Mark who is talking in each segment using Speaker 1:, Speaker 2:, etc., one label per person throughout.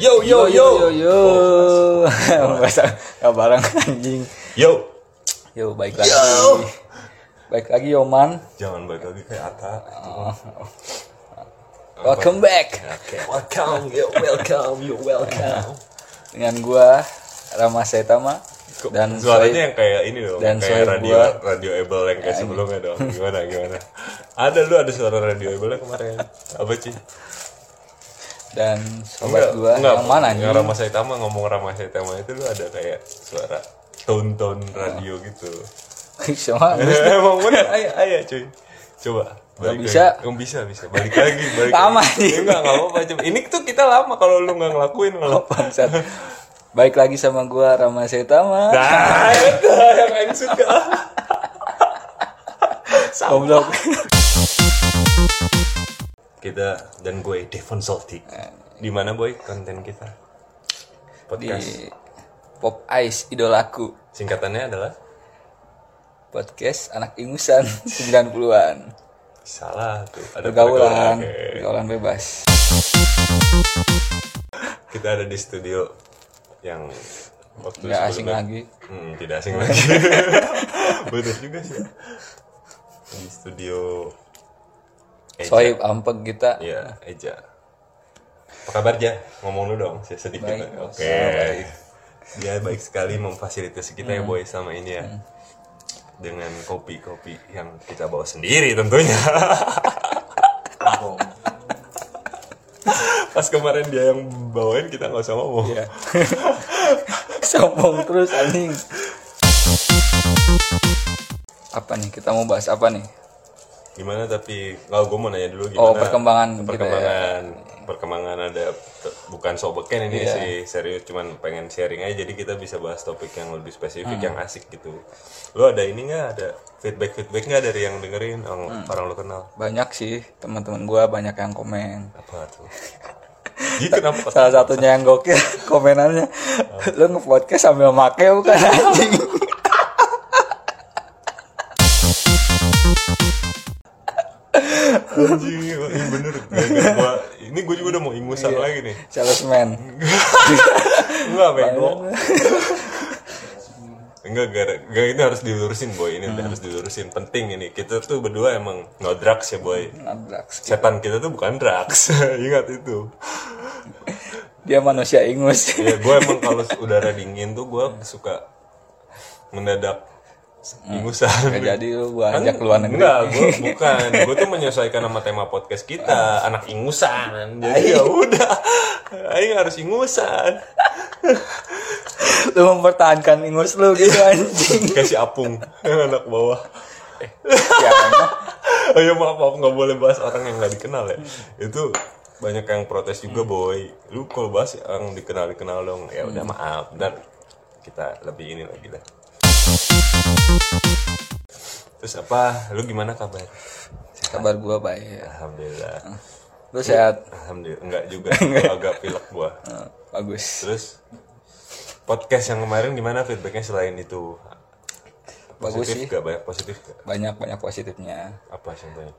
Speaker 1: yo yo.
Speaker 2: yo. Bahasa nggak bareng anjing.
Speaker 1: Yo.
Speaker 2: Yo baik lagi. Baik lagi Yoman.
Speaker 1: Jangan balik lagi kayak Ata.
Speaker 2: Welcome back
Speaker 1: Welcome, yo welcome, yo welcome.
Speaker 2: dengan gua Rama Setama dan
Speaker 1: Suaranya
Speaker 2: saya
Speaker 1: yang kayak ini dong,
Speaker 2: dan
Speaker 1: kayak
Speaker 2: soal
Speaker 1: radio
Speaker 2: gua-
Speaker 1: radio able yang kayak sebelumnya dong. Gimana gimana? Ada lu ada suara radio able kemarin. Apa sih?
Speaker 2: dan sobat gua yang mana nih?
Speaker 1: Yang Rama Saitama ngomong Rama Saitama itu lu ada kayak suara tone-tone radio gitu.
Speaker 2: Cuma
Speaker 1: Emang bener, ayo ayo cuy. Coba balik
Speaker 2: bisa.
Speaker 1: lagi. Nggak bisa bisa balik lagi balik
Speaker 2: Lama
Speaker 1: lagi.
Speaker 2: nih.
Speaker 1: Ya, nggak nggak apa-apa Cuma ini tuh kita lama kalau lu nggak ngelakuin kalau
Speaker 2: bangsat. Baik lagi sama gua Rama Setama.
Speaker 1: Nah, itu yang Aing suka.
Speaker 2: Goblok.
Speaker 1: Kita dan gue Devon Soltik. Di mana boy konten kita? Podcast.
Speaker 2: Di Pop Ice idolaku.
Speaker 1: Singkatannya adalah
Speaker 2: Podcast anak ingusan 90-an.
Speaker 1: salah tuh. Ada pergaulan.
Speaker 2: Pergaulan,
Speaker 1: Oke.
Speaker 2: pergaulan bebas.
Speaker 1: Kita ada di studio yang waktu
Speaker 2: Nggak asing
Speaker 1: sebelumnya-
Speaker 2: lagi.
Speaker 1: Hmm, tidak asing lagi. Bener juga sih. Di studio Eja.
Speaker 2: Soib ampek kita.
Speaker 1: Iya, Eja. Apa kabar, Ja? Ngomong lu dong, se- sedikit.
Speaker 2: Baik,
Speaker 1: aja.
Speaker 2: Hmm. Mas.
Speaker 1: Oke. Dia baik sekali memfasilitasi kita ya, Boy, sama ini ya. Dengan kopi-kopi yang kita bawa sendiri tentunya. Pas kemarin dia yang bawain, kita nggak usah ngomong.
Speaker 2: Iya. Sombong terus anjing. Apa nih kita mau bahas apa nih?
Speaker 1: Gimana tapi, kalau gue mau nanya dulu gimana.
Speaker 2: Oh, perkembangan kita ya.
Speaker 1: Perkembangan. Perkembangan ada, t- bukan sobeken ini
Speaker 2: Iya.
Speaker 1: sih, serius. Cuman pengen sharing aja, jadi kita bisa bahas topik yang lebih spesifik,
Speaker 2: Hmm.
Speaker 1: yang asik gitu. Lo ada ini nggak, ada feedback-feedback nggak dari yang dengerin, orang,
Speaker 2: Hmm.
Speaker 1: orang lo kenal?
Speaker 2: Banyak sih teman-teman gua banyak yang komen.
Speaker 1: Apa tuh? Gitu kenapa?
Speaker 2: Salah satunya yang gokil komenannya.
Speaker 1: Oh.
Speaker 2: Lu nge-podcast sambil make bukan anjing.
Speaker 1: Anjing, ini bener. Gara-gara gua- ini gue juga udah mau
Speaker 2: Iya.
Speaker 1: ingusan lagi nih.
Speaker 2: Salesman.
Speaker 1: Enggak, bego. Enggak, gara, gara ini harus dilurusin boy, ini harus dilurusin. Penting ini. Kita tuh berdua emang no drugs ya boy.
Speaker 2: Nadraks.
Speaker 1: Setan kita tuh bukan drugs. Ingat itu.
Speaker 2: Dia manusia ingus.
Speaker 1: Ya gue emang kalau udara dingin tuh gue suka mendadak Hmm. ingusan. Kan
Speaker 2: Gak jadi lu gua ajak ke luar
Speaker 1: Iya.
Speaker 2: negeri.
Speaker 1: Enggak, gue bukan. Gue tuh menyesuaikan sama tema podcast kita, anak ingusan. Jadi ya udah, Aing harus ingusan.
Speaker 2: Lu mempertahankan ingus lu gitu anjing.
Speaker 1: Kayak si Apung, yang anak bawah. Iya,
Speaker 2: Siapa emang?
Speaker 1: Oh ya maaf, maaf nggak boleh bahas orang yang nggak dikenal ya. Itu banyak yang protes
Speaker 2: Hmm.
Speaker 1: juga boy. Lu kalau bahas yang dikenal dikenal dong, ya udah
Speaker 2: Hmm.
Speaker 1: maaf. Dan kita lebih ini lagi lah. Terus apa? Lu gimana kabar?
Speaker 2: Kabar gua baik.
Speaker 1: Alhamdulillah.
Speaker 2: Lu sehat?
Speaker 1: Alhamdulillah enggak juga. Gua agak pilek gua.
Speaker 2: Eh, Bagus.
Speaker 1: Terus podcast yang kemarin gimana feedbacknya selain itu?
Speaker 2: Bagus
Speaker 1: Positif
Speaker 2: sih.
Speaker 1: gak banyak positif gak?
Speaker 2: Banyak banyak positifnya.
Speaker 1: Apa contohnya?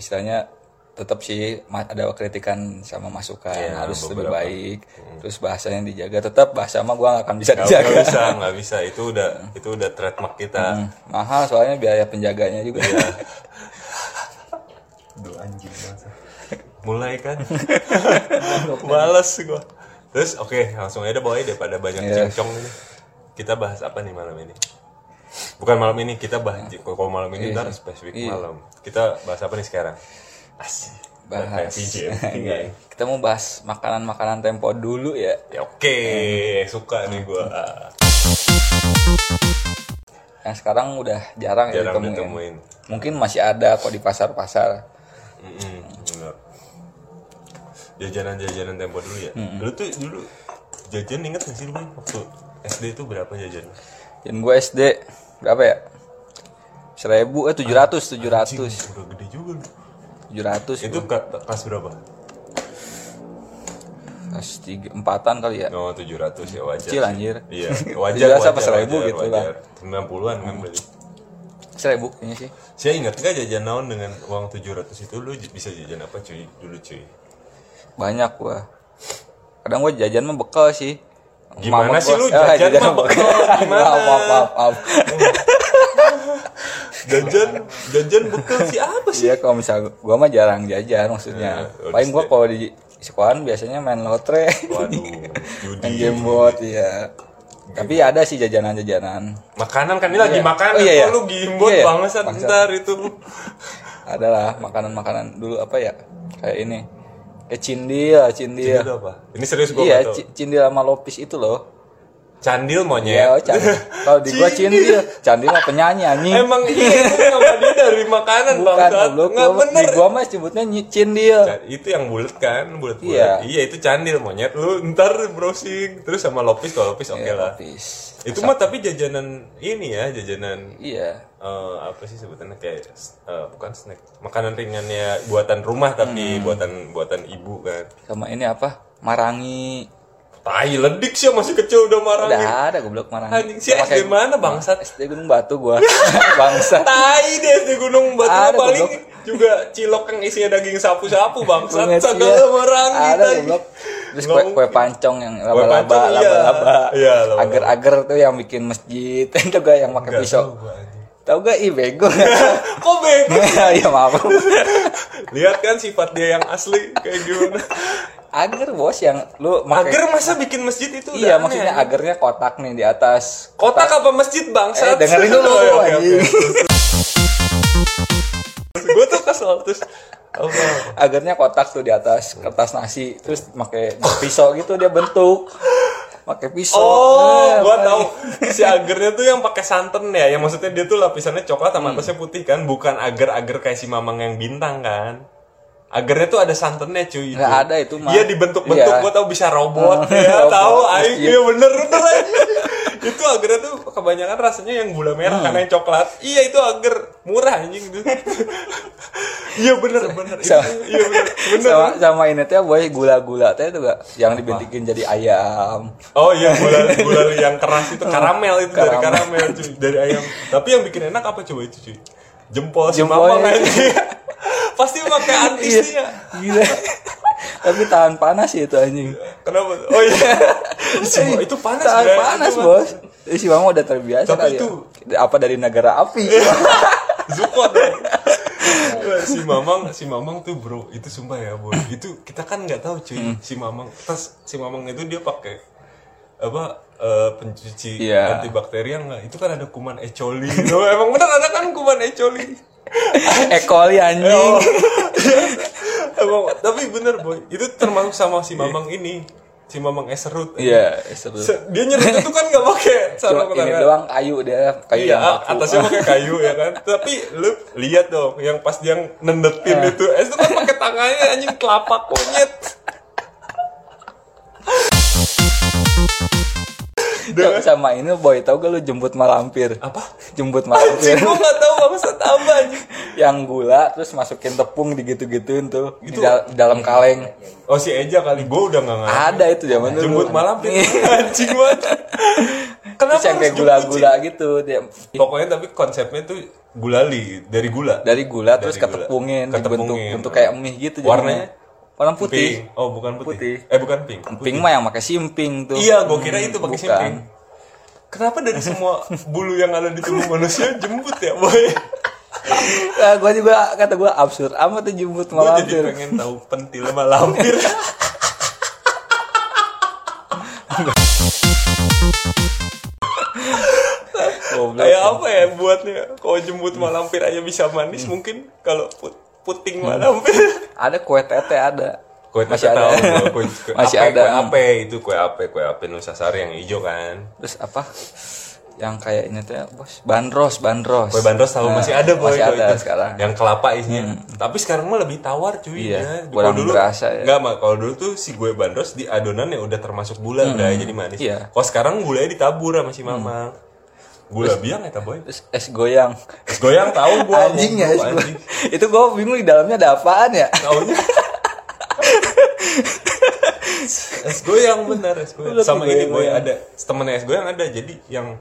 Speaker 2: istilahnya tetap sih ma- ada kritikan sama masukan
Speaker 1: Iya,
Speaker 2: harus lebih
Speaker 1: beberapa.
Speaker 2: baik terus bahasanya dijaga tetap bahasa mah gua nggak akan bisa
Speaker 1: Gak,
Speaker 2: dijaga
Speaker 1: gak bisa, gak bisa. Itu udah itu udah trademark kita.
Speaker 2: Hmm, mahal soalnya biaya penjaganya juga
Speaker 1: Iya. Aduh anjing banget. Mulai kan? Males gua. Terus oke, langsung aja boy daripada banyak
Speaker 2: Iya.
Speaker 1: cincong ini. Kita bahas apa nih malam ini? Bukan malam ini, kita bahas
Speaker 2: Iya.
Speaker 1: kalau malam ini ntar spesifik malam. Kita bahas apa nih sekarang? Asik.
Speaker 2: bahas Iya.
Speaker 1: PJM.
Speaker 2: kita mau bahas makanan makanan tempo dulu ya
Speaker 1: ya oke,
Speaker 2: Iya.
Speaker 1: suka nih gua.
Speaker 2: yang sekarang udah jarang, ya
Speaker 1: Jarang
Speaker 2: ditemuin.
Speaker 1: ditemuin.
Speaker 2: mungkin masih ada kok di pasar pasar
Speaker 1: Mm-mm, bener. Jajanan-jajanan tempo dulu ya. Dulu tuh dulu jajan inget gak sih lu Boy? waktu SD itu berapa jajan?
Speaker 2: dan gue sd berapa ya seribu eh tujuh ratus tujuh ratus
Speaker 1: Cing, udah gede juga lu.
Speaker 2: tujuh ratus
Speaker 1: Itu ke- kelas berapa?
Speaker 2: Ya. tiga empatan kali ya
Speaker 1: Oh, 700 ya wajar.
Speaker 2: Kecil,
Speaker 1: sih.
Speaker 2: anjir.
Speaker 1: Iya, wajar.
Speaker 2: 700 apa
Speaker 1: wajar,
Speaker 2: 1000
Speaker 1: wajar,
Speaker 2: gitu
Speaker 1: wajar. 90-an kan berarti.
Speaker 2: seribu kayaknya sih
Speaker 1: Saya ingat gak jajan naon dengan uang 700 itu lu j- bisa jajan apa cuy dulu cuy?
Speaker 2: banyak gua kadang gue jajan mah bekal sih
Speaker 1: Gimana sih lu
Speaker 2: eh,
Speaker 1: jajan mah bekal? Gimana?
Speaker 2: maaf maaf maaf, maaf.
Speaker 1: jajan jajan bekal siapa sih
Speaker 2: Iya kalau misal gue mah jarang jajan maksudnya.
Speaker 1: Eh,
Speaker 2: Paling gue kalau di sekolahan biasanya main lotre,
Speaker 1: waduh iya.
Speaker 2: main
Speaker 1: judi
Speaker 2: game board ya. Tapi ada sih jajanan-jajanan.
Speaker 1: makanan kan ini lagi
Speaker 2: Iya.
Speaker 1: makan
Speaker 2: Oh, iya, iya.
Speaker 1: kok lu gimbot
Speaker 2: Iya, iya.
Speaker 1: bangsat
Speaker 2: Bangsat.
Speaker 1: ntar itu
Speaker 2: Ada lah makanan-makanan dulu apa ya? Kayak ini. Kayak cindil, cindil.
Speaker 1: Itu apa ini serius gue
Speaker 2: iya,
Speaker 1: nggak tahu.
Speaker 2: ci- cindil sama lopis itu loh.
Speaker 1: candil
Speaker 2: Iya,
Speaker 1: monyet
Speaker 2: oh, candil. Kalau di gua
Speaker 1: Cindil.
Speaker 2: cindil, candil mah penyanyi anjing.
Speaker 1: emang iya itu nama dia dari makanan
Speaker 2: Bukan,
Speaker 1: bangsat
Speaker 2: Kan, goblok.
Speaker 1: Kan, nggak
Speaker 2: Gua-
Speaker 1: bener
Speaker 2: Di gua mah sebutnya nyi- cindil.
Speaker 1: Ca- itu yang bulat kan bulat bulat
Speaker 2: Iya.
Speaker 1: iya itu candil monyet lu ntar browsing terus sama lopis kalau lopis oke
Speaker 2: Iya,
Speaker 1: lah
Speaker 2: lopis.
Speaker 1: itu mah tapi jajanan ini ya jajanan
Speaker 2: Iya.
Speaker 1: eh, apa sih sebutannya kayak eh, bukan snack makanan ringannya buatan rumah tapi
Speaker 2: Hmm.
Speaker 1: buatan buatan ibu kan
Speaker 2: Sama ini apa? Marangi.
Speaker 1: tai ledik sih masih kecil udah marangin
Speaker 2: Udah ada goblok marah.
Speaker 1: anjing sih SD mana bangsat
Speaker 2: SD Gunung Batu gua. Bangsa.
Speaker 1: tai deh di gunung batu
Speaker 2: Ada,
Speaker 1: paling
Speaker 2: goblok.
Speaker 1: juga cilok yang isinya daging sapu-sapu bangsat
Speaker 2: Ingat sih,
Speaker 1: segala
Speaker 2: ya.
Speaker 1: marangin
Speaker 2: Ada
Speaker 1: tai.
Speaker 2: goblok.
Speaker 1: Nggak
Speaker 2: Terus kue,
Speaker 1: mungkin.
Speaker 2: kue pancong yang laba-laba,
Speaker 1: pancong, iya.
Speaker 2: laba-laba.
Speaker 1: Iya, laba-laba.
Speaker 2: Agar-agar tuh yang bikin masjid. Itu gua yang pakai
Speaker 1: Nggak
Speaker 2: pisau.
Speaker 1: tahu Oh, gua, anjing.
Speaker 2: Tahu gak ih bego.
Speaker 1: kok bego
Speaker 2: Iya maaf.
Speaker 1: lihat kan sifat dia yang asli kayak gimana
Speaker 2: Agar bos yang lu pakai-
Speaker 1: agar masa bikin masjid itu udah
Speaker 2: Iya
Speaker 1: aneh.
Speaker 2: maksudnya agarnya kotak nih di atas.
Speaker 1: kotak apa masjid
Speaker 2: Eh,
Speaker 1: bangsat Oh, iya,
Speaker 2: dengerin dulu anjing.
Speaker 1: gue tuh kesel terus apa
Speaker 2: agarnya kotak tuh di atas kertas nasi terus pakai pisau gitu dia bentuk pakai pisau
Speaker 1: Oh,
Speaker 2: Nah,
Speaker 1: gua
Speaker 2: pakai-
Speaker 1: tahu. Si agernya tuh yang pakai santan ya. Yang maksudnya dia tuh lapisannya coklat
Speaker 2: Hmm.
Speaker 1: sama atasnya putih kan, bukan agar-agar kayak si Mamang yang bintang kan. Agernya tuh ada santannya cuy itu.
Speaker 2: Nggak ada itu, mah.
Speaker 1: Iya dibentuk-bentuk
Speaker 2: Iya.
Speaker 1: gua tahu bisa robot
Speaker 2: Hmm,
Speaker 1: ya,
Speaker 2: robot,
Speaker 1: tahu aing
Speaker 2: iya.
Speaker 1: iya bener bener. aing. itu agernya tuh kebanyakan rasanya yang gula
Speaker 2: Hmm.
Speaker 1: merah karena yang coklat. Iya itu agar murah anjing tuh. Iya bener bener. Itu,
Speaker 2: Sama-
Speaker 1: Iya bener bener.
Speaker 2: sama, sama ini teh boy gula-gula teh tuh gak yang dibentikin jadi ayam
Speaker 1: Oh iya, gula, gula yang keras itu karamel itu dari
Speaker 2: Karamel.
Speaker 1: karamel cuy, dari ayam. Tapi yang bikin enak apa coba itu cuy? Jempol si
Speaker 2: Jempolnya.
Speaker 1: mamang anjing. Pasti pakai antisnya.
Speaker 2: Iya. gila tapi tahan panas sih itu anjing Eh,
Speaker 1: Kenapa? Oh iya. Si Mo- itu panas
Speaker 2: tahan
Speaker 1: Bray.
Speaker 2: panas
Speaker 1: Itu
Speaker 2: bos Eh, si mama udah terbiasa
Speaker 1: Tapi
Speaker 2: kali
Speaker 1: itu- Eh, oh.
Speaker 2: ya. apa dari negara api
Speaker 1: Zuko dong. si Mamang, si Mamang tuh bro, itu sumpah ya bro. Itu kita kan nggak tahu cuy. Si Mamang, terus si Mamang itu dia pakai apa eh, pencuci
Speaker 2: Iya.
Speaker 1: antibakteri nggak? Itu kan ada kuman E. coli. Loh, emang bener ada kan kuman E. coli.
Speaker 2: ekoli ya, anjing
Speaker 1: Oh. Emang, tapi bener boy, itu termasuk sama si Mamang ini, si Mamang Eserut.
Speaker 2: iya seru
Speaker 1: Se- Dia nyerut itu kan nggak pakai sarung
Speaker 2: cuma ini
Speaker 1: tangan.
Speaker 2: doang kayu dia kayu
Speaker 1: Iya,
Speaker 2: yang
Speaker 1: a-
Speaker 2: kaku.
Speaker 1: atasnya pakai kayu ya kan. Tapi lu lihat dong, yang pas dia nendetin
Speaker 2: Iya.
Speaker 1: itu, es itu kan pakai tangannya anjing telapak monyet.
Speaker 2: Tuh, sama ini boy tau gak lu jemput malampir
Speaker 1: Apa?
Speaker 2: jemput
Speaker 1: Anjing
Speaker 2: malampir
Speaker 1: gua nggak tahu maksud apa anjing.
Speaker 2: yang gula terus masukin tepung digitu-gituin tuh di,
Speaker 1: Gitu.
Speaker 2: dal- di dalam kaleng
Speaker 1: Oh si Eja kali, gua udah nggak ngerti.
Speaker 2: ada itu zaman dulu
Speaker 1: Jemput malam
Speaker 2: Iya.
Speaker 1: anjing banget.
Speaker 2: terus
Speaker 1: Kenapa
Speaker 2: yang kayak
Speaker 1: harus jemput
Speaker 2: gula-gula gitu dia
Speaker 1: sih? Pokoknya tapi konsepnya tuh gulali dari gula.
Speaker 2: dari gula terus
Speaker 1: gula.
Speaker 2: ketepungin dibentuk
Speaker 1: Ketepungin.
Speaker 2: bentuk kayak mie gitu
Speaker 1: Warnanya?
Speaker 2: jadinya. warna putih
Speaker 1: Pink. Oh, bukan putih.
Speaker 2: Putih.
Speaker 1: Eh, bukan pink.
Speaker 2: pink mah yang pakai simping tuh
Speaker 1: Iya, gue kira itu pakai
Speaker 2: bukan.
Speaker 1: simping. Kenapa dari semua bulu yang ada di tubuh manusia jemput ya, boy?
Speaker 2: nah, gua juga kata gua absurd amat tuh jemput
Speaker 1: Gue jadi
Speaker 2: malampir
Speaker 1: pengen tahu pentil sama lampir.
Speaker 2: Goblok.
Speaker 1: Kayak apa ya buatnya? Kalau jemput sama lampir aja bisa manis,
Speaker 2: Hmm.
Speaker 1: mungkin kalau put puting sama lampir.
Speaker 2: ada kue tete ada
Speaker 1: Kue
Speaker 2: Hmm. masih ada
Speaker 1: kue,
Speaker 2: masih ada
Speaker 1: Kue ape itu kue ape, kue ape Nusa Sari yang hijau kan.
Speaker 2: terus apa yang kayak ini tuh ya, bos bandros bandros
Speaker 1: Kue bandros tahu
Speaker 2: Nah,
Speaker 1: masih ada boy
Speaker 2: masih
Speaker 1: kalau
Speaker 2: ada
Speaker 1: itu.
Speaker 2: sekarang Hmm.
Speaker 1: Yang kelapa isinya. Tapi sekarang mah lebih tawar cuy.
Speaker 2: Iya,
Speaker 1: ya.
Speaker 2: kurang
Speaker 1: dulu
Speaker 2: berasa ya.
Speaker 1: Enggak, Mak. kalau dulu tuh si gue bandros di adonan ya udah termasuk gula udah jadi manis.
Speaker 2: Iya. Hmm.
Speaker 1: Kalau sekarang gulanya ditabur sama si mamang. Gula biang ya boy.
Speaker 2: terus es goyang
Speaker 1: Es goyang tahu gua.
Speaker 2: anjing ya es
Speaker 1: gua,
Speaker 2: goyang. itu gue bingung di dalamnya ada apaan ya
Speaker 1: Taunya. es goyang bener es goyang.
Speaker 2: Lu
Speaker 1: Sama ini
Speaker 2: goyang-goyang.
Speaker 1: boy ada temennya es goyang ada jadi yang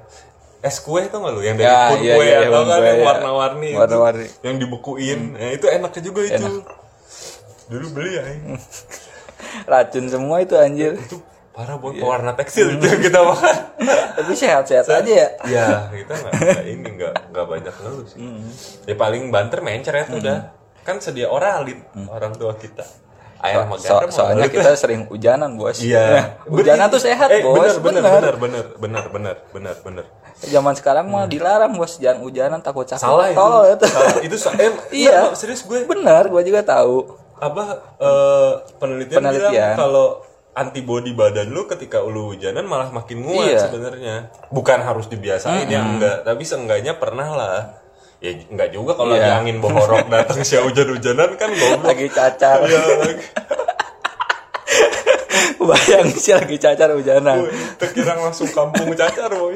Speaker 1: es kue tau gak lu yang dari
Speaker 2: Ya,
Speaker 1: pun
Speaker 2: iya,
Speaker 1: kue atau
Speaker 2: iya, yang
Speaker 1: kan
Speaker 2: kue,
Speaker 1: yang
Speaker 2: ya.
Speaker 1: warna-warni itu,
Speaker 2: Warna-warni. Hmm.
Speaker 1: yang dibekuin Nah, itu enaknya juga itu dulu beli ya
Speaker 2: racun semua itu anjir
Speaker 1: itu parah buat
Speaker 2: Iya.
Speaker 1: pewarna tekstil itu yang kita makan
Speaker 2: tapi sehat-sehat aja ya
Speaker 1: ya kita nggak nggak ini nggak nggak banyak ngeluh sih
Speaker 2: Hmm.
Speaker 1: ya paling banter mencret udah kan sedia oralin orang tua kita air kan sama
Speaker 2: Hmm. So-
Speaker 1: garam sama
Speaker 2: soalnya
Speaker 1: balut.
Speaker 2: kita sering hujanan bos
Speaker 1: Iya.
Speaker 2: hujanan Nah, tuh sehat
Speaker 1: Eh,
Speaker 2: bos
Speaker 1: Bener,
Speaker 2: bener.
Speaker 1: bener, bener, bener, bener, bener, bener.
Speaker 2: zaman sekarang mah dilarang bos jangan hujanan takut cakep
Speaker 1: Salah itu.
Speaker 2: Tolol itu
Speaker 1: Salah. Itu sa- eh,
Speaker 2: Iya.
Speaker 1: enggak, serius gue
Speaker 2: bener gua juga tahu
Speaker 1: apa eh, penelitian,
Speaker 2: Penelitian.
Speaker 1: bilang kalau antibodi badan lu ketika lu hujanan malah makin nguat
Speaker 2: Iya.
Speaker 1: sebenarnya. Bukan harus dibiasain ya enggak, tapi seenggaknya pernah lah. Ya enggak juga kalau
Speaker 2: Iya.
Speaker 1: lagi angin bohorok datang sih hujan-hujanan kan goblok.
Speaker 2: lagi cacar
Speaker 1: Ya, lagi.
Speaker 2: bayangin sih lagi cacar hujanan
Speaker 1: Woi, terkirang langsung kampung cacar boy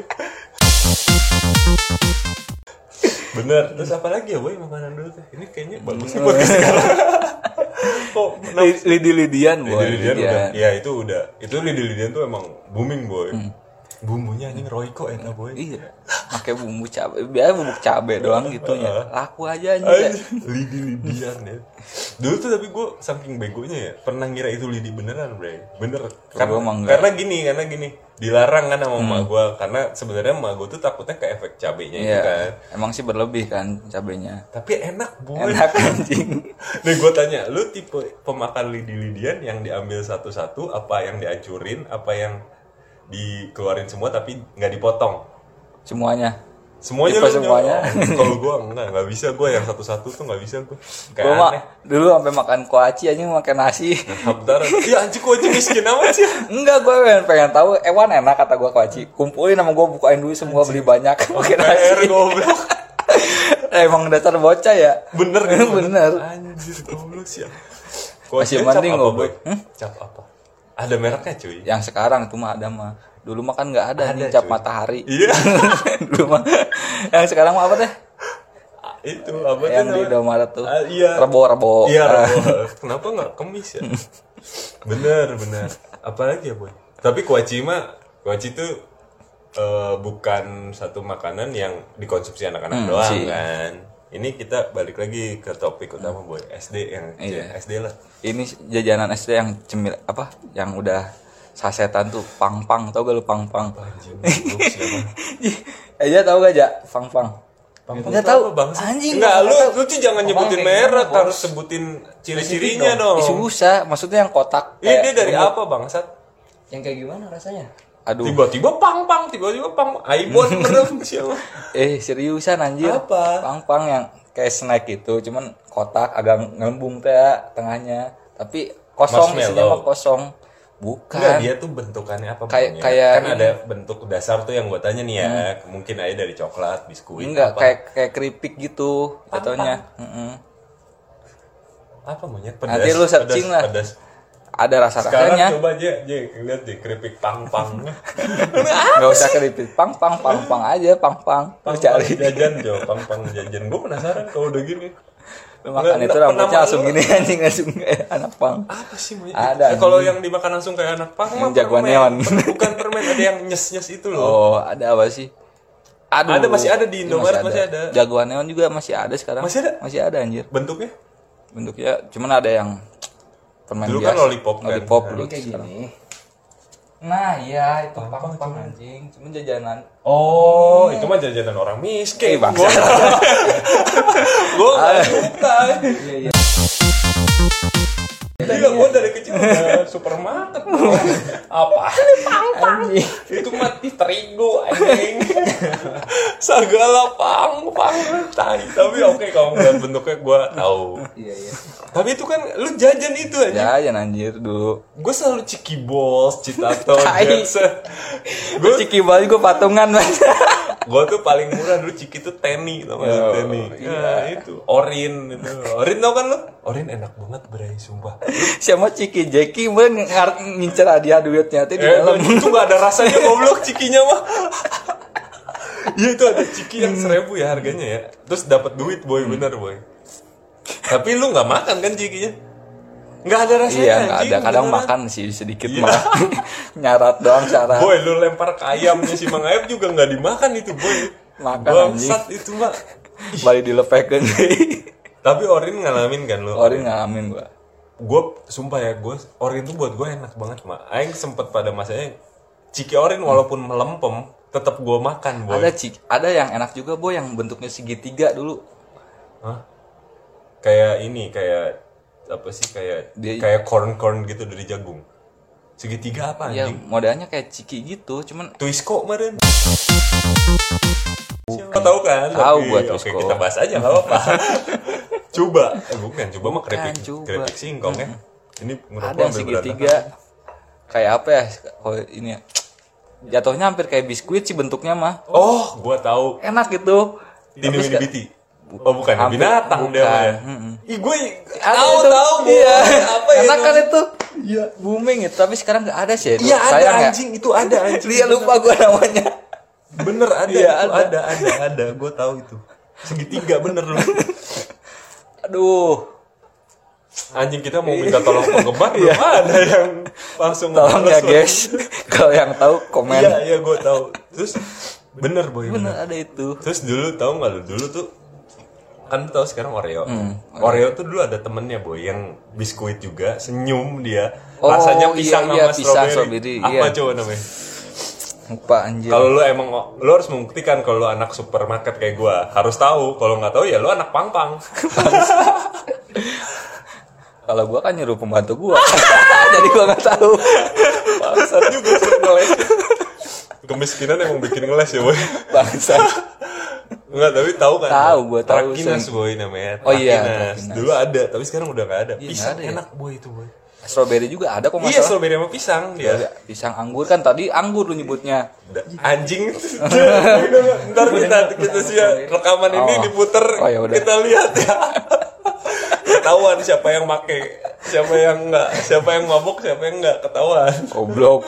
Speaker 1: bener terus apa lagi ya boy makanan dulu teh ini kayaknya bagus nih buat sekarang kok
Speaker 2: Li- lidi-lidian boy Iya.
Speaker 1: lidi-lidian udah
Speaker 2: lidian.
Speaker 1: ya itu udah itu lidi-lidian tuh emang booming boy bumbunya anjing royco enak boy
Speaker 2: Iya, pakai bumbu cabe, biasa bumbu cabe doang gitu
Speaker 1: Uh-huh.
Speaker 2: ya. Laku aja anjir.
Speaker 1: Anjing, lidi-lidian ya dulu tuh tapi gue saking begonya ya pernah ngira itu lidi beneran bre bener
Speaker 2: Gua mah
Speaker 1: karena,
Speaker 2: enggak. Hmm.
Speaker 1: karena gini karena gini dilarang kan sama emak gue karena sebenarnya emak gue tuh takutnya ke efek cabenya itu kan
Speaker 2: Iya, emang sih berlebih kan cabenya.
Speaker 1: tapi enak boy
Speaker 2: Enak anjing.
Speaker 1: nih gue tanya lu tipe pemakan lidi-lidian yang diambil satu-satu apa yang dihancurin apa yang dikeluarin semua tapi nggak dipotong
Speaker 2: Semuanya.
Speaker 1: semuanya
Speaker 2: Tipe
Speaker 1: lu
Speaker 2: semuanya.
Speaker 1: nyolong. kalau gue enggak nggak bisa gue yang satu-satu tuh nggak bisa gue kayak
Speaker 2: Gua mah
Speaker 1: aneh
Speaker 2: dulu sampai makan kuaci anjing makan nasi.
Speaker 1: Bentar, iya anjing kok anjing miskin amat sih
Speaker 2: Enggak, gue pengen, pengen tahu Ewan enak kata gua kuaci. Kumpulin sama gua bukain duit semua beli banyak makan
Speaker 1: PR
Speaker 2: nasi.
Speaker 1: goblok
Speaker 2: Emang dasar bocah ya.
Speaker 1: Bener gitu
Speaker 2: Bener.
Speaker 1: Anjir goblok sih
Speaker 2: Masih mending goblok.
Speaker 1: Cap apa? Ada mereknya cuy
Speaker 2: Yang sekarang tuh mah ada mah. Dulu mah kan nggak ada,
Speaker 1: Ada,
Speaker 2: nih cap
Speaker 1: cuy.
Speaker 2: matahari.
Speaker 1: Iya
Speaker 2: Dulu mah. Yang sekarang mah apa deh?
Speaker 1: Itu apa tuh
Speaker 2: Yang di
Speaker 1: namanya?
Speaker 2: Indomaret tuh.
Speaker 1: Ah, Iya
Speaker 2: Rebo-rebo.
Speaker 1: Iya
Speaker 2: Ah.
Speaker 1: rebo. Kenapa nggak kemis ya? Bener bener Apalagi ya boy Tapi kuaci mah Kuaci tuh eh, bukan satu makanan yang dikonsumsi anak-anak
Speaker 2: Hmm,
Speaker 1: doang
Speaker 2: sih.
Speaker 1: kan ini kita balik lagi ke topik utama boy SD yang
Speaker 2: Iya.
Speaker 1: SD lah
Speaker 2: ini jajanan SD yang cemil apa yang udah sasetan tuh pang pang tau gak lu pang pang
Speaker 1: anjing goblok sih, emang.
Speaker 2: aja tau gak ja pang pang
Speaker 1: Bang,
Speaker 2: Nggak
Speaker 1: itu
Speaker 2: tahu.
Speaker 1: apa, Bang?
Speaker 2: Anjing,
Speaker 1: Enggak,
Speaker 2: nggak
Speaker 1: lu
Speaker 2: tahu.
Speaker 1: lu tuh jangan
Speaker 2: Abang
Speaker 1: nyebutin
Speaker 2: kayak
Speaker 1: merek,
Speaker 2: gimana, Bos?
Speaker 1: harus sebutin ciri-cirinya dong.
Speaker 2: Ih, susah maksudnya yang kotak
Speaker 1: Ini dia
Speaker 2: kayak
Speaker 1: dari
Speaker 2: gemuk.
Speaker 1: apa, Bangsat?
Speaker 2: yang kayak gimana rasanya aduh
Speaker 1: Tiba-tiba pang pang, tiba-tiba pang. Aibon merem siapa?
Speaker 2: eh seriusan anjir
Speaker 1: Apa?
Speaker 2: pang pang yang kayak snack gitu cuman kotak agak ngembung teh ya, tengahnya tapi kosong isinya
Speaker 1: Marshmallow.
Speaker 2: mah kosong bukan
Speaker 1: Enggak, dia tuh bentukannya apa?
Speaker 2: Kan. Kayak-
Speaker 1: Bang, ya?
Speaker 2: kayak
Speaker 1: kan
Speaker 2: ini. Hmm.
Speaker 1: ada bentuk dasar tuh yang gua tanya nih ya. Mungkin aja dari coklat, biskuit.
Speaker 2: enggak
Speaker 1: apa.
Speaker 2: kayak kayak keripik gitu jatuhnya Mm-mm.
Speaker 1: apa monyet pedas.
Speaker 2: Nanti lu searching
Speaker 1: pedas,
Speaker 2: lah.
Speaker 1: Pedas.
Speaker 2: ada rasa
Speaker 1: Sekarang
Speaker 2: rasanya
Speaker 1: coba aja, aja lihat deh keripik pang pang.
Speaker 2: nggak usah keripik pang pang pang pang aja pang pang lu
Speaker 1: Pang
Speaker 2: cari
Speaker 1: jajan, Jo. Pang pang jajan. Gua penasaran kalau udah gini.
Speaker 2: Lu makan
Speaker 1: Nggak,
Speaker 2: itu
Speaker 1: nggak,
Speaker 2: rambutnya
Speaker 1: nama
Speaker 2: langsung
Speaker 1: lu-
Speaker 2: gini anjing langsung kayak anak pang
Speaker 1: apa sih monyet?
Speaker 2: Ada,
Speaker 1: Eh, kalau yang dimakan langsung kayak anak pang mah
Speaker 2: Yang jagoan
Speaker 1: permen.
Speaker 2: neon.
Speaker 1: Per- bukan permen ada yang nyes nyes itu loh
Speaker 2: oh ada apa sih Aduh,
Speaker 1: Ada, masih ada di
Speaker 2: ini
Speaker 1: Indomaret, masih ada.
Speaker 2: Jagoan neon juga masih ada sekarang.
Speaker 1: Masih ada?
Speaker 2: Masih ada anjir.
Speaker 1: bentuknya
Speaker 2: Bentuknya ya, cuman ada yang permen
Speaker 1: Dulu
Speaker 2: biasa.
Speaker 1: kan lollipop kan.
Speaker 2: Lollipop
Speaker 1: Nah,
Speaker 2: dulu sekarang. Nah, iya itu pang-pang anjing. Cuman jajanan.
Speaker 1: oh itu mah jajanan orang miskin
Speaker 2: Eh, bangsa.
Speaker 1: gue nggak suka
Speaker 2: Iya, iya. Ah.
Speaker 1: gila gue Iya, dari kecil udah supermarket bro. apa
Speaker 2: Anjing.
Speaker 1: itu mati terigu anjing segala pang pang tai tapi oke kalau ngeliat bentuknya gue tahu
Speaker 2: Iya, iya.
Speaker 1: tapi itu kan lu jajan itu aja
Speaker 2: Jajan anjir dulu.
Speaker 1: gue selalu ciki bos citato
Speaker 2: Tai.
Speaker 1: gue
Speaker 2: Gue ciki banget gue patungan Mas.
Speaker 1: gue tuh paling murah dulu ciki tuh teni tau gak lu,
Speaker 2: Yo,
Speaker 1: teni
Speaker 2: iya.
Speaker 1: ya, itu orin itu orin tau kan lu orin enak banget bray sumpah
Speaker 2: Eh, Sama Ciki Jeki mah ngar- ngincer hadiah duitnya tuh di
Speaker 1: eh,
Speaker 2: dalam.
Speaker 1: itu gak ada rasanya goblok cikinya mah Iya itu ada ciki yang
Speaker 2: Hmm.
Speaker 1: seribu ya harganya ya terus dapat duit boy bener boy tapi lu nggak makan kan cikinya nggak ada rasanya
Speaker 2: Iya, nggak
Speaker 1: Eh, anjing,
Speaker 2: ada. Kadang
Speaker 1: beneran.
Speaker 2: makan sih sedikit
Speaker 1: Iya.
Speaker 2: malah. Nyarat doang cara.
Speaker 1: Boy, lu lempar ke ayamnya si Mang Ayam juga nggak dimakan itu, boy.
Speaker 2: Makan,
Speaker 1: Bangsat itu mah.
Speaker 2: Balik dilepekin.
Speaker 1: Tapi Orin ngalamin kan lu?
Speaker 2: Orin ngalamin gua.
Speaker 1: gue sumpah ya gue orin tuh buat gue enak banget mah aing sempet pada masanya ciki orin walaupun melempem tetap gue makan boy
Speaker 2: Ada cik, ada yang enak juga boy yang bentuknya segitiga dulu.
Speaker 1: Hah? kayak ini kayak apa sih kayak
Speaker 2: Dia-
Speaker 1: kayak corn corn gitu dari jagung segitiga apa
Speaker 2: Ya
Speaker 1: anjing
Speaker 2: modelnya kayak ciki gitu, cuman
Speaker 1: Twisco kemarin. Siapa tahu kan?
Speaker 2: Tahu
Speaker 1: Tapi,
Speaker 2: gua
Speaker 1: oke,
Speaker 2: Twisco.
Speaker 1: kita bahas aja nggak apa-apa. coba, eh, bukan coba mah
Speaker 2: Bukan,
Speaker 1: keripik,
Speaker 2: coba.
Speaker 1: keripik singkong ya. Ini menurut
Speaker 2: ada
Speaker 1: gua
Speaker 2: yang
Speaker 1: ambil
Speaker 2: segitiga. Kayak apa ya? Kalau ini ya. Jatuhnya hampir kayak biskuit sih bentuknya mah.
Speaker 1: berantakan. Oh, gua tahu.
Speaker 2: Enak gitu.
Speaker 1: Tini
Speaker 2: Tapi
Speaker 1: Winnie
Speaker 2: seka-
Speaker 1: Biti. Oh bukan,
Speaker 2: Hampir-
Speaker 1: binatang dia
Speaker 2: bukan.
Speaker 1: mah ya.
Speaker 2: Mm-mm.
Speaker 1: Ih gue
Speaker 2: Ada
Speaker 1: tahu
Speaker 2: itu.
Speaker 1: tahu Bu.
Speaker 2: Iya.
Speaker 1: Apa ya
Speaker 2: Enak kan
Speaker 1: namanya?
Speaker 2: itu?
Speaker 1: Iya.
Speaker 2: Booming itu, tapi sekarang nggak ada sih. itu.
Speaker 1: Iya ada
Speaker 2: Sayang ya.
Speaker 1: anjing, itu ada anjing.
Speaker 2: Iya lupa gue namanya.
Speaker 1: Bener ada,
Speaker 2: Iya,
Speaker 1: itu
Speaker 2: ada.
Speaker 1: ada, ada, ada. Gue tahu itu. Segitiga bener lu.
Speaker 2: Aduh.
Speaker 1: Anjing kita mau minta tolong penggemar belum ada yang langsung
Speaker 2: Iya. Tolong ya
Speaker 1: ngeles, Boy.
Speaker 2: guys. Kalau yang tahu komen.
Speaker 1: Iya iya gue tahu. Terus bener boy. Bener.
Speaker 2: Bener ada itu.
Speaker 1: Terus dulu tahu nggak lu dulu tuh kan lu tahu sekarang Oreo.
Speaker 2: Hmm,
Speaker 1: Oreo tuh dulu ada temennya boy yang biskuit juga senyum dia.
Speaker 2: Oh,
Speaker 1: Rasanya
Speaker 2: iya,
Speaker 1: pisang
Speaker 2: iya,
Speaker 1: sama
Speaker 2: pisang,
Speaker 1: strawberry.
Speaker 2: strawberry,
Speaker 1: Apa
Speaker 2: iya.
Speaker 1: coba namanya?
Speaker 2: Lupa anjir.
Speaker 1: Kalau lu emang lu harus membuktikan kalau lu anak supermarket kayak gua harus tahu. Kalau nggak tahu ya lu anak pangpang.
Speaker 2: Kalau gua kan nyuruh pembantu gua. Jadi gua nggak tahu.
Speaker 1: Bangsat juga sering ngeles. Kemiskinan emang bikin ngeles ya boy.
Speaker 2: Bangsa.
Speaker 1: Enggak, tapi tahu kan?
Speaker 2: Tahu, gua tahu,
Speaker 1: Trakinas
Speaker 2: sering.
Speaker 1: boy namanya.
Speaker 2: Oh iya,
Speaker 1: Trakinas.
Speaker 2: Trakinas.
Speaker 1: Dulu ada, tapi sekarang udah gak ada.
Speaker 2: Iya,
Speaker 1: pisang
Speaker 2: nggak ada ya.
Speaker 1: enak boy itu boy.
Speaker 2: Strawberry juga ada kok
Speaker 1: Iya,
Speaker 2: masalah. Iya.
Speaker 1: strawberry sama pisang dia.
Speaker 2: Pisang anggur kan tadi anggur lu nyebutnya.
Speaker 1: Da- Anjing. Ntar kita kita sih ya, rekaman ini
Speaker 2: Iya. Oh.
Speaker 1: diputer
Speaker 2: Oh, ya udah.
Speaker 1: kita lihat ya. Ketahuan siapa yang make, siapa yang enggak, siapa yang mabuk, siapa yang enggak ketahuan.
Speaker 2: Goblok.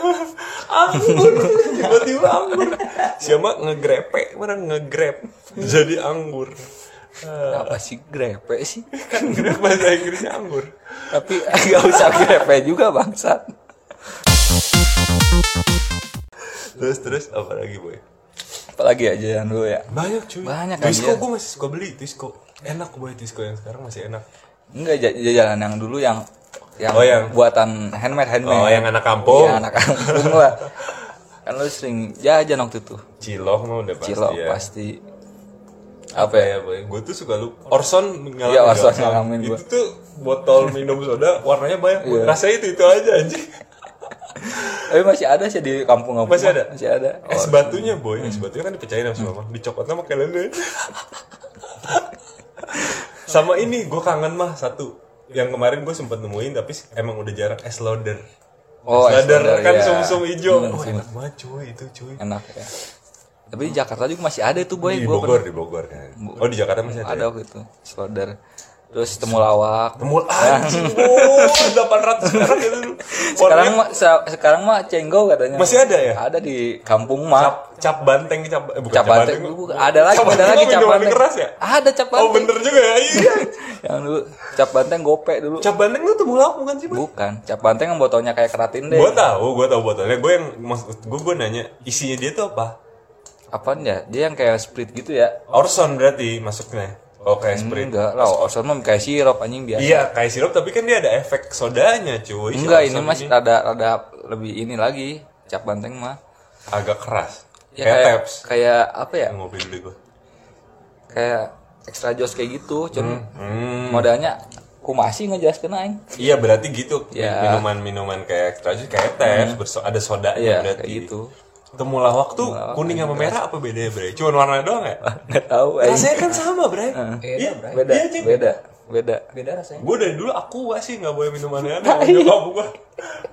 Speaker 1: anggur tiba-tiba anggur siapa ngegrepe mana ngegrep jadi anggur Eh,
Speaker 2: Apa sih grepe sih?
Speaker 1: kan grep bahasa Inggrisnya anggur
Speaker 2: Tapi nggak usah grepe juga bangsat.
Speaker 1: terus terus apa lagi boy
Speaker 2: Apalagi aja yang dulu ya.
Speaker 1: banyak cuy
Speaker 2: Banyak kan
Speaker 1: Twisco
Speaker 2: dia.
Speaker 1: gue masih suka beli Twisco enak boy Twisco yang sekarang masih enak
Speaker 2: Enggak ja- jajanan yang dulu yang yang,
Speaker 1: Oh, yang-
Speaker 2: buatan handmade handmade.
Speaker 1: Oh, yang anak kampung.
Speaker 2: Iya, anak kampung lah. kan lu sering jajan waktu itu.
Speaker 1: Cilok mah udah pasti
Speaker 2: Cilok
Speaker 1: ya
Speaker 2: pasti.
Speaker 1: apa
Speaker 2: Apa ya?
Speaker 1: ya boy gue tuh suka lu Orson ngalamin
Speaker 2: Iya, Orson
Speaker 1: nggak?
Speaker 2: ngalamin gua.
Speaker 1: itu tuh botol minum soda warnanya banyak boy.
Speaker 2: Iya.
Speaker 1: rasanya itu itu aja anjing
Speaker 2: Tapi masih ada sih di kampung-kampung.
Speaker 1: Masih ada?
Speaker 2: Masih ada.
Speaker 1: es batunya boy
Speaker 2: Hmm.
Speaker 1: es batunya kan dipecahin sama semua mah dicopot sama kalender sama ini gue kangen mah satu yang kemarin gue sempat nemuin tapi emang udah jarang es lauder
Speaker 2: Oh,
Speaker 1: es
Speaker 2: es
Speaker 1: lauder
Speaker 2: lauder,
Speaker 1: kan
Speaker 2: iya.
Speaker 1: sumsum hijau
Speaker 2: Hmm,
Speaker 1: oh,
Speaker 2: sum-
Speaker 1: enak banget cuy itu cuy
Speaker 2: enak ya tapi di Jakarta juga masih ada tuh boy
Speaker 1: di
Speaker 2: iya, Gua
Speaker 1: Iya, Bogor di Bogor kan oh di Jakarta masih ada,
Speaker 2: pernah-
Speaker 1: ya?
Speaker 2: ada waktu itu solder terus temulawak
Speaker 1: Temul anjing, delapan ratus perak itu.
Speaker 2: sekarang
Speaker 1: Warnanya
Speaker 2: mah se- sekarang mah cenggol katanya
Speaker 1: masih ada ya?
Speaker 2: ada di kampung mah
Speaker 1: Cap, cap banteng, cap, eh, bukan
Speaker 2: cap banteng Bu, ada lagi
Speaker 1: Cap
Speaker 2: ada
Speaker 1: banteng
Speaker 2: lagi
Speaker 1: mah
Speaker 2: cap
Speaker 1: minuman
Speaker 2: banteng
Speaker 1: keras ya?
Speaker 2: ada cap
Speaker 1: Oh
Speaker 2: banteng
Speaker 1: bener juga ya, iya.
Speaker 2: yang dulu cap banteng gope dulu
Speaker 1: cap banteng itu temulawak bukan sih? Boy?
Speaker 2: bukan cap banteng yang botolnya kayak keratin deh
Speaker 1: Gue tahu, gue tahu botolnya. Gue yang maksud gue gue nanya isinya dia tuh apa?
Speaker 2: apaan ya dia yang kayak sprit gitu ya
Speaker 1: Orson berarti masuknya. Oh kayak Sprite.
Speaker 2: enggak lah Orson mah kayak sirup anjing biasa
Speaker 1: Iya kayak sirup tapi kan dia ada efek sodanya cuy. Si
Speaker 2: enggak ini
Speaker 1: Orson
Speaker 2: masih rada rada lebih ini lagi cap banteng mah
Speaker 1: agak keras.
Speaker 2: Ya,
Speaker 1: kayak,
Speaker 2: kayak,
Speaker 1: taps.
Speaker 2: kayak apa ya
Speaker 1: Ngopi dulu gue.
Speaker 2: kayak extra jos kayak gitu cuman
Speaker 1: Hmm.
Speaker 2: modalnya kumasi ngejelaskeun aing
Speaker 1: Iya berarti gitu
Speaker 2: Iya.
Speaker 1: minuman-minuman kayak extra juice kayak taps berso- ada sodanya
Speaker 2: Hmm. iya
Speaker 1: berarti.
Speaker 2: kayak gitu
Speaker 1: Temulawak tuh kuning sama merah apa bedanya bre? Cuman warna doang ya?
Speaker 2: nggak tahu aing
Speaker 1: Rasanya kan sama bre. Iya
Speaker 2: beda
Speaker 1: Iya, Cing.
Speaker 2: beda beda
Speaker 3: beda rasanya
Speaker 1: Gue dari dulu aku sih nggak boleh minuman aneh
Speaker 2: Nah,
Speaker 1: sama nyokap gue.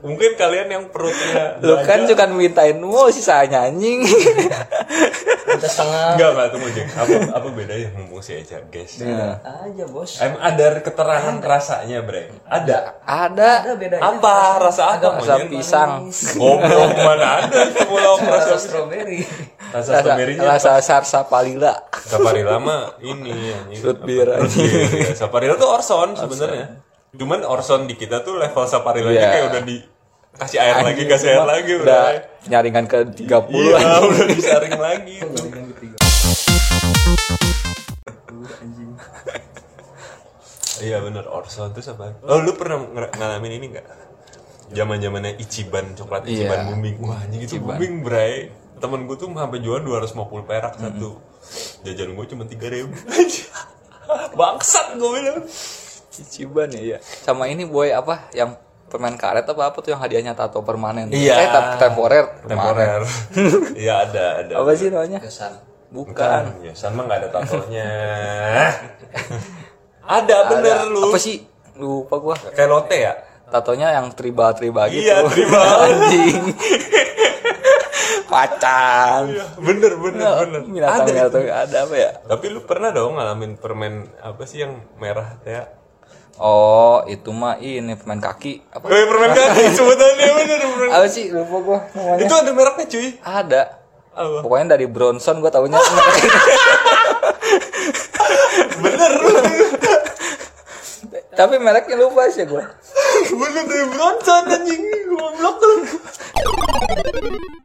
Speaker 1: Mungkin kalian yang perutnya
Speaker 2: iya. lu kan juga mintain mulu sisanya anjing
Speaker 3: kita setengah
Speaker 1: Enggak, enggak, tunggu Jeng. Apa, apa bedanya mumpung si Eca, guys?
Speaker 2: Nah,
Speaker 3: aja bos
Speaker 1: Em, ada keterangan rasanya, bre. Ada.
Speaker 3: ada
Speaker 2: ada
Speaker 3: bedanya
Speaker 1: Apa? Rasa apa?
Speaker 2: rasa
Speaker 1: Mon, Jeng?
Speaker 2: pisang
Speaker 1: Goblok, mana ada pulau rasa
Speaker 3: rasa strawberry
Speaker 1: Rasa
Speaker 2: rasa
Speaker 1: strawberry-nya.
Speaker 2: rasa sarsapalila
Speaker 1: Saparilla mah ini. anjing.
Speaker 2: Fruit
Speaker 1: Apa?
Speaker 2: beer,
Speaker 1: Fruit beer, iya. Saparilla tuh Orson sebenarnya. Cuman Orson di kita tuh level Saparillanya
Speaker 2: Iya.
Speaker 1: kayak udah di kasih air lagi, kasih air lagi udah.
Speaker 2: udah nyaringan ke 30
Speaker 1: Iya,
Speaker 2: anjing.
Speaker 1: udah disaring lagi.
Speaker 3: Yang ketiga. Dulu, anjing
Speaker 1: Iya bener Orson terus apa? Oh lu pernah nger- ngalamin ini nggak? Zaman zamannya Ichiban coklat
Speaker 2: Iya.
Speaker 1: Ichiban booming. Wah anjing itu
Speaker 2: Ichiban.
Speaker 1: booming bray. Temen gue tuh sampai jual 250 perak satu. Jajan gue cuma 3000 ribu. Bangsat gue bilang.
Speaker 2: Ciciban ya, iya. Sama ini boy apa yang permen karet apa apa tuh yang hadiahnya tato permanen.
Speaker 1: Iya.
Speaker 2: Eh, tap- temporer.
Speaker 1: Temporer.
Speaker 2: permanen.
Speaker 1: Iya ada ada.
Speaker 2: Apa sih namanya?
Speaker 3: kesan
Speaker 2: Bukan.
Speaker 1: Bukan. Ya sama nggak ada tatonya. ada bener lu.
Speaker 2: Apa sih? Lupa gua.
Speaker 1: Kayak lote ya?
Speaker 2: Tatonya yang tribal-tribal gitu.
Speaker 1: Iya, tribal.
Speaker 2: Anjing. Pacan.
Speaker 1: Iya, bener bener bener.
Speaker 2: Binatang binatang ada apa ya?
Speaker 1: Tapi lu pernah dong ngalamin permen apa sih yang merah ya?
Speaker 2: Oh, itu mah ini permen kaki. Apa?
Speaker 1: Eh, permen kaki sebutannya bener bener.
Speaker 2: Apa sih? Lupa gua namanya.
Speaker 1: Itu ada mereknya cuy.
Speaker 2: Ada.
Speaker 1: Apa?
Speaker 2: Pokoknya dari Bronson gua taunya.
Speaker 1: Bener lu.
Speaker 2: Tapi mereknya lupa sih gua.
Speaker 1: bener dari Bronson anjing. Goblok lu.